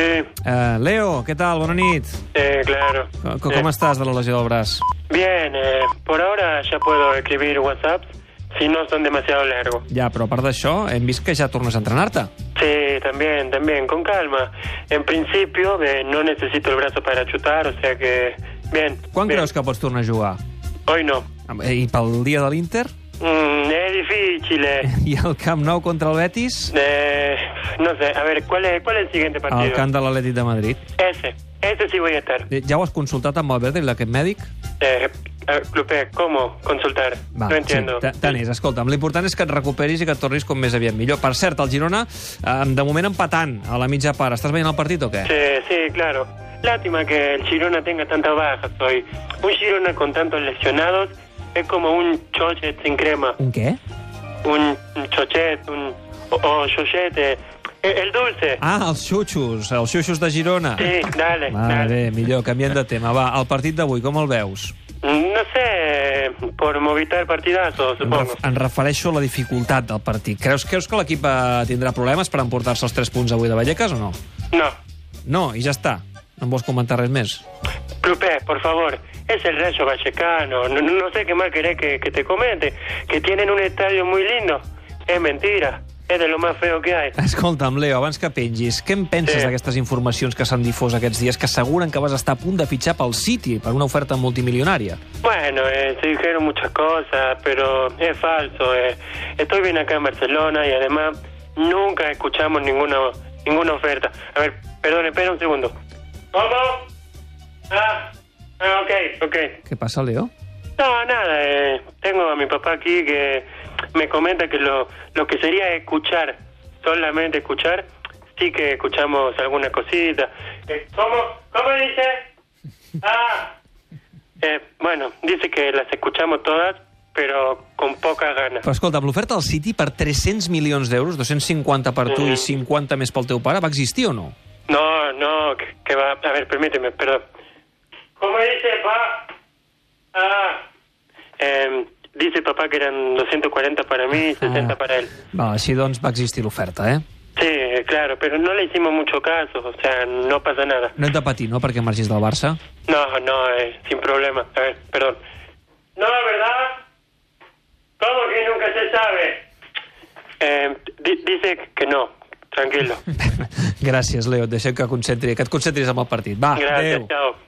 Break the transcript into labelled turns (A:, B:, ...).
A: Eh, Leo, ¿qué tal? Buena nit.
B: Eh, claro.
A: Co-
B: Eh,
A: Ah, ¿Cómo estás de la lesión del brazo?
B: Bien, eh, por ahora ya puedo escribir WhatsApp si no son demasiado largos.
A: Ja, però a part d'això, hem vist que ja tornes a entrenar-te.
B: Sí, también, también, con calma. En principio eh, no necesito el brazo para chutar, o sea que... Bien.
A: Quan
B: bien.
A: creus que pots tornar a jugar?
B: Hoy no.
A: Am- eh, I pel dia de l'Inter?
B: Mm, es difícil. eh.
A: I el Camp Nou contra el Betis?
B: Eh, no sé, a ver, ¿cuál es, cuál es el siguiente
A: Al
B: partido?
A: camp de l'Atlètic de Madrid.
B: Ese, ese sí voy a estar.
A: Eh, Ja ho has consultat amb el Betis, l'equip mèdic?
B: Eh, eh, Lupe, ¿cómo consultar? no entiendo.
A: Sí, ta- tant és. Escolta'm, l'important és que et recuperis i que et tornis com més aviat millor. Per cert, el Girona, eh, de moment empatant a la mitja part. Estàs veient el partit o què?
B: Sí, sí, claro. Lástima que el Girona tenga tantas bajas hoy. Un Girona con tantos lesionados es como un chochet sin crema.
A: Un què?
B: Un un chochet, un... o, o chochete. El, el dulce.
A: Ah, els xuxos, els xuxos de Girona.
B: Sí, dale,
A: Va
B: dale.
A: bé, millor, canviem de tema. Va, el partit d'avui, com el veus?
B: No sé, por movitar partidazo,
A: Em,
B: supongo.
A: ref- em refereixo a la dificultat del partit. Creus, creus que l'equip eh, tindrá problemes per emportar-se els 3 punts avui de Vallecas o no?
B: No.
A: No, i ja està. No em vols comentar res més?
B: Clupé, por favor, es el Rayo Vallecano. No, no- no sé qué más querés que, que te comente. Que tienen un estadio muy lindo. Es mentira. Es de lo más feo que hay.
A: Escolta'm, Leo, abans que pengis, què en
B: Sí.
A: penses d'aquestes informacions que s'han difós aquests dies que asseguren que vas estar a punt de fitxar pel City per una oferta multimilionària?
B: Bueno, eh, se dijeron muchas cosas, pero es falso. eh. Estoy bien acá en Barcelona y además nunca escuchamos ninguna ninguna oferta. A ver, perdón, espera un segundo. ¿Cómo? Ah, ah, ok, ok.
A: Què passa, Leo?
B: No, nada, eh, tengo a mi papá aquí que me comenta que lo, lo que sería escuchar, solamente escuchar, sí que escuchamos alguna cosita. Eh, ¿Cómo? ¿Cómo dice? Ah. Eh, bueno, dice que las escuchamos todas, pero con pocas ganas.
A: Però escolta'm, l'oferta del City per 300 milions d'euros, 250 per tu i 50 més pel teu pare, va existir o no?
B: No, no, que, que va. A ver, permíteme, perdón. ¿Cómo dice, papá? Ah. Eh, dice papá que eran 240 para mí y
A: Ah.
B: 60 para él.
A: Va, així doncs va existir l'oferta, eh?
B: Sí, claro, pero no le hicimos mucho caso, o sea, no pasa nada.
A: No hem de patir, no?, perquè marxis del Barça.
B: No, no, eh, sin problema. A ver, perdón. No, ¿verdad? ¿Cómo que nunca se sabe? Eh, di- dice que no, tranquilo.
A: Gràcies, Leo. Et deixem que, concentri, que et concentris amb el partit. Va,
B: Gracias,
A: adéu.
B: chao.